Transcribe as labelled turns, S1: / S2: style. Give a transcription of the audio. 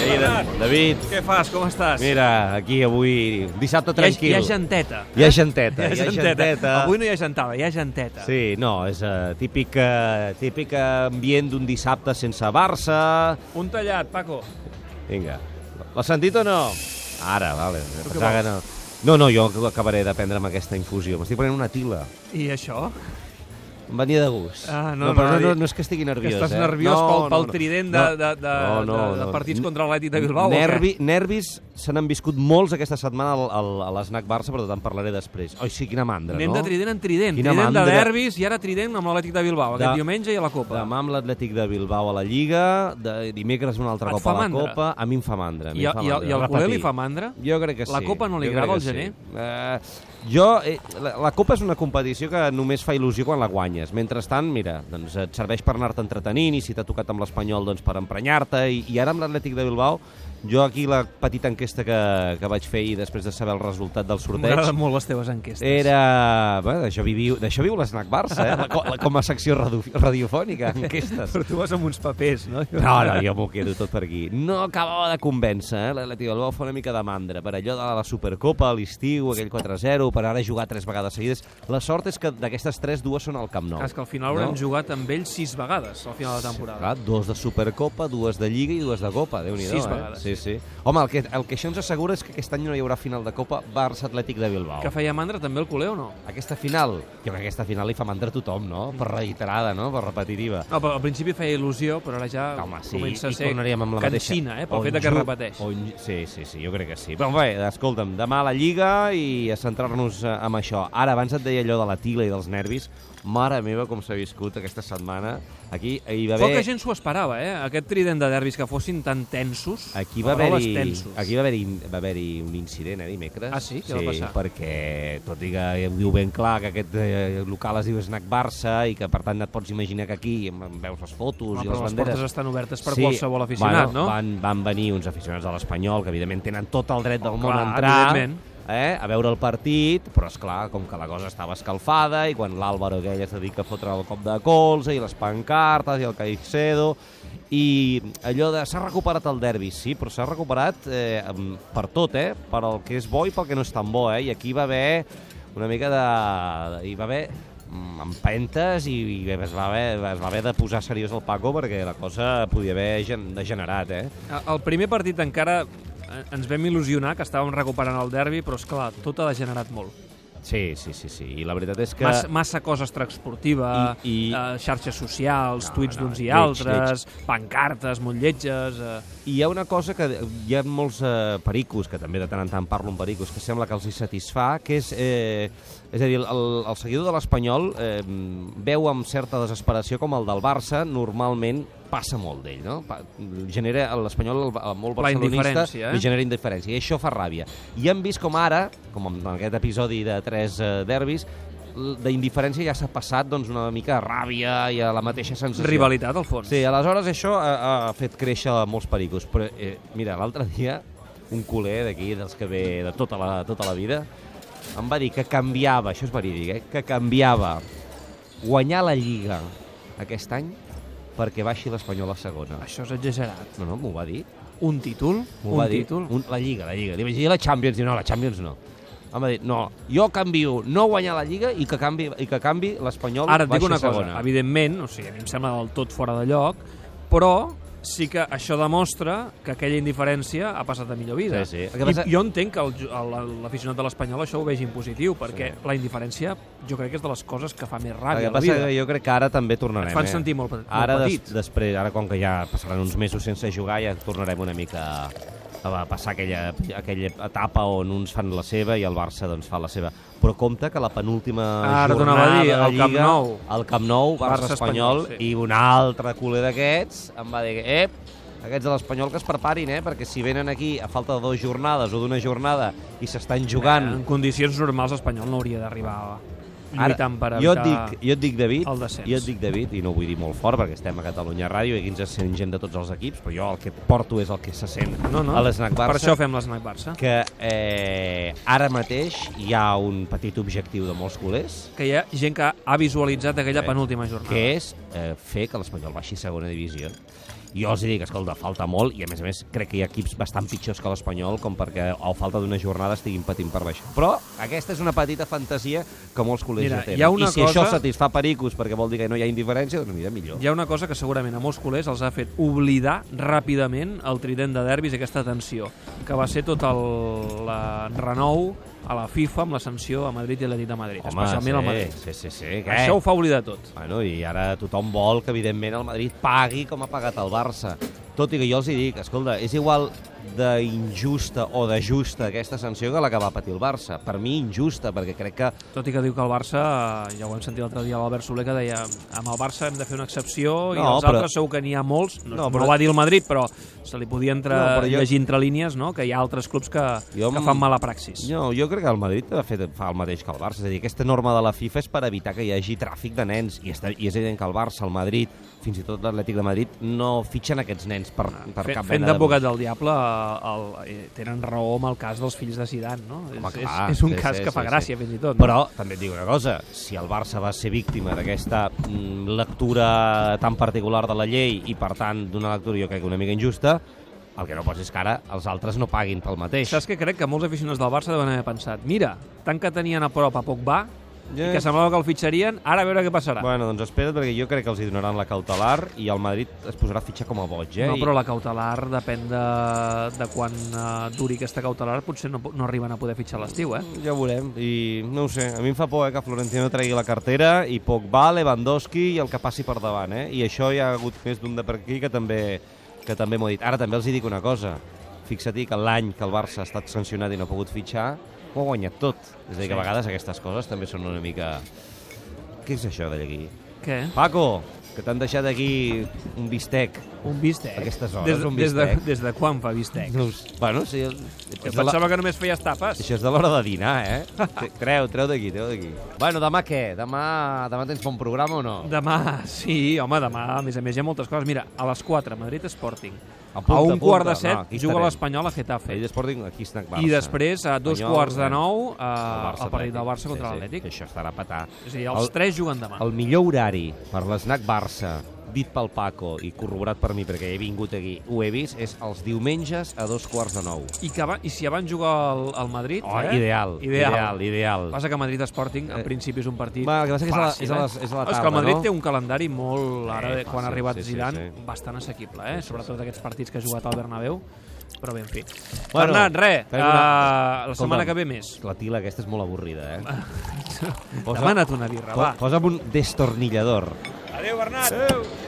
S1: Bernat.
S2: David,
S1: Què fas? Com estàs?
S2: mira, aquí avui, dissabte
S1: Hi ha, hi
S2: tranquil.
S1: ha genteta.
S2: Hi ha genteta,
S1: Hi ha genteta. Avui no hi ha gentada, hi ha genteta.
S2: Sí, no, és uh, típic, eh, típic eh, ambient d'un dissabte sense Barça.
S1: Un tallat, Paco.
S2: Vinga, l'has sentit o no? Ara, vale.
S1: què
S2: Pensava que no. No, no, jo acabaré de prendre'm aquesta infusió. M'estic prenent una tila.
S1: I això?
S2: Em venia de gust.
S1: Ah, no,
S2: no, però
S1: no,
S2: no, no,
S1: dic-
S2: no és que estigui nerviós,
S1: que estàs
S2: eh?
S1: nerviós
S2: no,
S1: pel, pel
S2: no, no.
S1: trident de,
S2: No,
S1: de, de,
S2: no, no,
S1: de, de
S2: no.
S1: partits contra l'Atlètic de Bilbao. o què?
S2: Nervi, nervis se n'han viscut molts aquesta setmana al, al, a l'Snac Barça, però te'n parlaré després. Oi, sí, quina mandra,
S1: Anem
S2: no?
S1: de trident en trident.
S2: Quina
S1: trident de
S2: mandra.
S1: derbis i ara trident amb l'Atlètic de Bilbao. Aquest
S2: De-
S1: diumenge i a la Copa.
S2: Demà amb l'Atlètic de Bilbao a la Lliga, de dimecres un altre
S1: Et
S2: cop a
S1: fa
S2: la
S1: mandra?
S2: Copa. A mi em fa mandra. a mi
S1: I,
S2: em
S1: a,
S2: fa
S1: i, a,
S2: mandra.
S1: I al culer
S2: Repetir.
S1: li fa mandra?
S2: Jo crec que sí.
S1: La Copa no li
S2: jo
S1: agrada
S2: crec
S1: al
S2: que
S1: gener?
S2: Sí. Eh, jo, eh, la, la Copa és una competició que només fa il·lusió quan la guanyes. Mentrestant, mira, doncs et serveix per anar-te entretenint i si t'ha tocat amb l'Espanyol, doncs per emprenyar-te. I, I ara amb l'Atlètic de Bilbao, jo aquí la petita enquesta que, que vaig fer i després de saber el resultat del sorteig...
S1: M'agraden molt les teves enquestes.
S2: Era... Bé, d'això viviu, d'això viu l'Snac Barça, eh? La, co- la, com a secció radu- radiofònica, enquestes.
S1: Però tu vas amb uns papers, no?
S2: No, no, jo m'ho quedo tot per aquí. No acabava de convèncer, eh? L'Atlètic de Bilbao fa una mica de mandra per allò de la Supercopa, a l'estiu, aquell 4-0, per ara jugar tres vegades seguides. La sort és que d'aquestes tres, dues són al Camp Nou.
S1: Clar, és que al final hauran jugat amb ells sis vegades al final de temporada.
S2: Clar, dos de Supercopa, dues de Lliga i dues de Copa, déu nhi
S1: Sis
S2: eh?
S1: vegades.
S2: Sí, sí. Home, el que, el que això ens assegura és que aquest any no hi haurà final de Copa Barça-Atlètic de Bilbao.
S1: Que feia mandra també el culer o no?
S2: Aquesta final, jo crec que aquesta final li fa mandra a tothom, no? Per reiterada, no? Per repetitiva.
S1: No, però al principi feia il·lusió, però ara ja
S2: Home, sí,
S1: comença a
S2: i
S1: ser
S2: tornaríem amb la mateixa.
S1: cansina, eh, pel
S2: On
S1: fet de que
S2: ju-
S1: es repeteix.
S2: On... Sí, sí, sí, jo crec que sí. Però bé, escolta'm, demà a la Lliga i a centrar-nos eh, en això. Ara, abans et deia allò de la tila i dels nervis. Mare meva, com s'ha viscut aquesta setmana. Aquí hi va haver...
S1: Poca gent s'ho esperava, eh? Aquest trident de derbis que fossin tan tensos.
S2: Aquí va
S1: Paraules
S2: haver-hi
S1: tensos.
S2: aquí va haver-hi va haver un incident, eh, dimecres.
S1: Ah, sí? Què va passar?
S2: perquè, tot i que ho diu ben clar que aquest eh, local es diu Snack Barça i que, per tant, et pots imaginar que aquí em- em veus les fotos
S1: Home,
S2: i
S1: però
S2: les
S1: les
S2: banderes...
S1: portes estan obertes per qualsevol aficionat,
S2: bueno,
S1: no?
S2: Van, van venir uns aficionats de l'Espanyol, que evidentment tenen tot el dret del
S1: Oh,
S2: món
S1: clar,
S2: a entrar,
S1: evidentment.
S2: eh, a veure el partit, però és clar, com que la cosa estava escalfada i quan l'Àlvaro aquell es dedica a fotre el cop de colze i les pancartes i el Caicedo i allò de s'ha recuperat el derbi, sí, però s'ha recuperat eh, em- per tot, eh? Per el que és bo i pel que no és tan bo, eh? I aquí va haver una mica de... hi va haver mm, empentes i, i es, va haver, es va haver de posar seriós el Paco perquè la cosa podia haver gen- degenerat, eh?
S1: El primer partit encara eh, ens vam il·lusionar que estàvem recuperant el derbi, però és clar, tot ha degenerat molt.
S2: Sí, sí, sí, sí. I la veritat és que...
S1: Massa, massa cosa extraesportiva,
S2: I- i-
S1: eh, xarxes socials,
S2: No,
S1: tuits
S2: no,
S1: d'uns i
S2: lleig,
S1: altres, pancartes, molt lletges... Eh.
S2: I hi ha una cosa que hi ha molts eh, pericos, que també de tant en tant parlo amb pericos, que sembla que els hi satisfà, que és... Eh, és a dir, el, el seguidor de l'Espanyol eh, veu amb certa desesperació com el del Barça, normalment passa molt d'ell, no? Pa, genera a l'Espanyol el, el molt
S1: La
S2: barcelonista
S1: indiferència, eh?
S2: li genera indiferència, i això fa ràbia. I hem vist com ara, com en aquest episodi de tres eh, derbis, l- d'indiferència ja s'ha passat doncs, una mica a ràbia i a la mateixa sensació.
S1: Rivalitat, al fons.
S2: Sí, aleshores això ha, ha fet créixer molts pericos. Però, eh, mira, l'altre dia, un culer d'aquí, dels que ve de tota la, tota la vida, em va dir que canviava, això és verídic, eh, que canviava guanyar la Lliga aquest any perquè baixi l'Espanyol a segona.
S1: Això és exagerat.
S2: No, no, m'ho va dir.
S1: Un títol?
S2: M'ho
S1: Un
S2: va dir.
S1: títol?
S2: Un, la Lliga, la Lliga. Li vaig dir la Champions, i no, la Champions no. Em va dir, no, jo canvio no guanyar la Lliga i que canvi, i que canvi l'Espanyol
S1: Ara et dic
S2: baixi
S1: una
S2: a
S1: cosa,
S2: segona.
S1: evidentment, o sigui, a mi em sembla del tot fora de lloc, però sí que això demostra que aquella indiferència ha passat a millor vida.
S2: Sí, sí. El que
S1: I
S2: passa-
S1: jo entenc que el ju- el- l'aficionat de l'Espanyol això ho vegi en positiu, perquè la indiferència jo crec que és de les coses que fa més
S2: El
S1: ràbia
S2: que
S1: a la
S2: passa
S1: vida.
S2: que jo crec que ara també tornarem.
S1: Et fan
S2: eh?
S1: sentir molt pe- molt
S2: ara
S1: petits.
S2: després, ara com que ja passaran uns mesos sense jugar, ja tornarem una mica a a passar aquella, aquella etapa on uns fan la seva i el Barça doncs fa la seva. Però compte que la penúltima
S1: Ara
S2: jornada
S1: t'anava a dir,
S2: de la
S1: al Camp
S2: Lliga,
S1: Nou.
S2: al Camp Nou,
S1: Barça
S2: Barça-Espanyol,
S1: Espanyol,
S2: Barça
S1: sí.
S2: i un altre culer d'aquests em va dir, ep, aquests de l'Espanyol que es preparin, eh? perquè si venen aquí a falta de dues jornades o d'una jornada i s'estan jugant
S1: Eh, En condicions normals l'Espanyol no hauria d'arribar a- lluitant per
S2: jo et
S1: evitar...
S2: dic, jo et dic David,
S1: el descens.
S2: jo et dic David, i no ho vull dir molt fort perquè estem a Catalunya Ràdio i aquí ens sent gent de tots els equips, però jo el que porto és el que se sent
S1: No, no.
S2: a l'esnac Barça.
S1: Per això fem l'esnac Barça.
S2: que eh, ara mateix hi ha un petit objectiu de molts culers,
S1: Que hi ha gent que ha visualitzat aquella
S2: Eh,
S1: penúltima jornada.
S2: que és eh, fer que l'Espanyol baixi a segona divisió. Jo els dic, escolta, falta molt, i a més a més crec que hi ha equips bastant pitjors que l'Espanyol com perquè a falta d'una jornada estiguin patint per baixar. Però aquesta és una petita fantasia que molts col·legis
S1: Mira,
S2: ja tenen.
S1: hi ha una
S2: I si
S1: cosa-
S2: això satisfà Pericos perquè vol dir que no hi ha indiferència, doncs mira, millor.
S1: Hi ha una cosa que segurament a molts culers els ha fet oblidar ràpidament el trident de derbis i aquesta tensió, que va ser tot el la, renou a la FIFA amb la sanció a Madrid i a l'Atlètic de Madrid, especialment al Madrid.
S2: sí, sí, sí. eh? Que...
S1: Això ho fa oblidar tot.
S2: Bueno, i ara tothom vol que, evidentment, el Madrid pagui com ha pagat el Barça. Tot i que jo els hi dic, escolta, és igual d'injusta o de justa aquesta sanció que la que va patir el Barça. Per mi, injusta, perquè crec que...
S1: Tot i que diu que el Barça, eh, ja ho hem sentit l'altre dia l'Albert Soler, que deia amb el Barça hem de fer una excepció i
S2: No,
S1: els
S2: però-
S1: altres segur que n'hi ha molts.
S2: No,
S1: No, no,
S2: però-
S1: però... no ho va dir el Madrid, però se li podia entre,
S2: No,
S1: no,
S2: però jo-
S1: jo... llegir entre línies no? que hi ha altres clubs que,
S2: Jo
S1: jo...
S2: em-
S1: que fan mala praxis. Jo...
S2: No, jo crec que el Madrid ha fet, fa el mateix que el Barça. És a dir, aquesta norma de la FIFA és per evitar que hi hagi tràfic de nens. I, està, i és evident que el Barça, el Madrid, fins i tot l'Atlètic de Madrid, no fitxen aquests nens per, per
S1: Fent,
S2: cap
S1: fent
S2: mena de
S1: d'advocat del diable, eh, el, eh, tenen raó amb el cas dels fills de Zidane, no? és, és,
S2: clar,
S1: és un
S2: sí,
S1: cas
S2: sí,
S1: que fa
S2: sí, sí.
S1: gràcia, fins i tot. no?
S2: Però també et dic una cosa, si el Barça va ser víctima d'aquesta mm, lectura tan particular de la llei i, per tant, d'una lectura jo crec que una mica injusta, el que no pots és que ara els altres no paguin pel mateix.
S1: Saps que crec que molts aficionats del Barça deuen haver pensat mira, tant que tenien a prop a poc va i que semblava que el fitxarien, ara a veure què passarà.
S2: Bueno, doncs espera't, perquè jo crec que els hi donaran la cautelar i el Madrid es posarà a fitxar com a boig, eh?
S1: No, però la cautelar depèn de, de quan eh, duri aquesta cautelar, potser no, po- no arriben a poder fitxar a l'estiu, eh?
S2: I... Ja ho veurem. I no ho sé, a mi em fa por eh, que Florentino tregui la cartera i Pogba, Lewandowski i el que passi per davant, eh? I això hi ha hagut més d'un de per aquí que també que també m'ho he dit. Ara també els hi dic una cosa. Fixa-t'hi que l'any que el Barça ha estat sancionat i no ha pogut fitxar, ho ha guanyat tot. És a dir, que a vegades aquestes coses també són una mica... Què és això d'allà aquí?
S1: Què?
S2: Paco, que t'han deixat aquí un bistec.
S1: Un bistec.
S2: A aquestes hores,
S1: des,
S2: un
S1: des de,
S2: bistec.
S1: des de quan fa bistec?
S2: No, ho sé. bueno, sí,
S1: Jo
S2: és de la-
S1: pensava que només feies tapes.
S2: Això és de l'hora de dinar, eh? Treu, treu d'aquí, treu d'aquí. Bueno, demà què? Demà, demà tens bon programa o no?
S1: Demà, sí, home, demà, a més a més, hi ha moltes coses. Mira, a les 4, Madrid Sporting.
S2: Apunta,
S1: a un
S2: apunta.
S1: quart de
S2: No,
S1: set
S2: aquí
S1: juga
S2: estarem.
S1: l'Espanyol a Getafe.
S2: Ell d'Sporting, aquí està Barça.
S1: I després, a dos
S2: Espanyol,
S1: quarts de
S2: eh?
S1: nou, eh,
S2: El
S1: el, partit del
S2: Atlètic.
S1: Barça contra
S2: Sí, sí,
S1: l'Atlètic.
S2: que Això estarà a petar.
S1: És a dir, els
S2: el,
S1: tres juguen demà.
S2: el millor horari per l'esnac Barça, dit pel Paco i corroborat per mi perquè he vingut aquí, ho he vist, és els diumenges a dos quarts de nou.
S1: I, que, aba- I si abans juga el, el Madrid...
S2: Oh,
S1: eh?
S2: ideal,
S1: ideal,
S2: ideal, ideal.
S1: Passa que Madrid Sporting, en
S2: Eh,
S1: principi, és un partit
S2: va, el que passa que és a la-
S1: fàcil,
S2: és a la-
S1: eh?
S2: és a la
S1: és
S2: tarda,
S1: que el Madrid
S2: no?
S1: té un calendari molt, ara,
S2: Eh,
S1: eh, quan
S2: fàcil,
S1: ha arribat
S2: sí, sí,
S1: Zidane,
S2: sí.
S1: bastant assequible, eh? sobretot aquests partits que ha jugat al Bernabéu, però bé, en fi.
S2: Bueno,
S1: Fernand, res,
S2: fem una-
S1: eh, la setmana que ve més.
S2: La tila aquesta és molt avorrida, eh?
S1: Demana't una birra, va.
S2: Posa'm un destornillador.
S1: Adéu, Bernat. Adéu.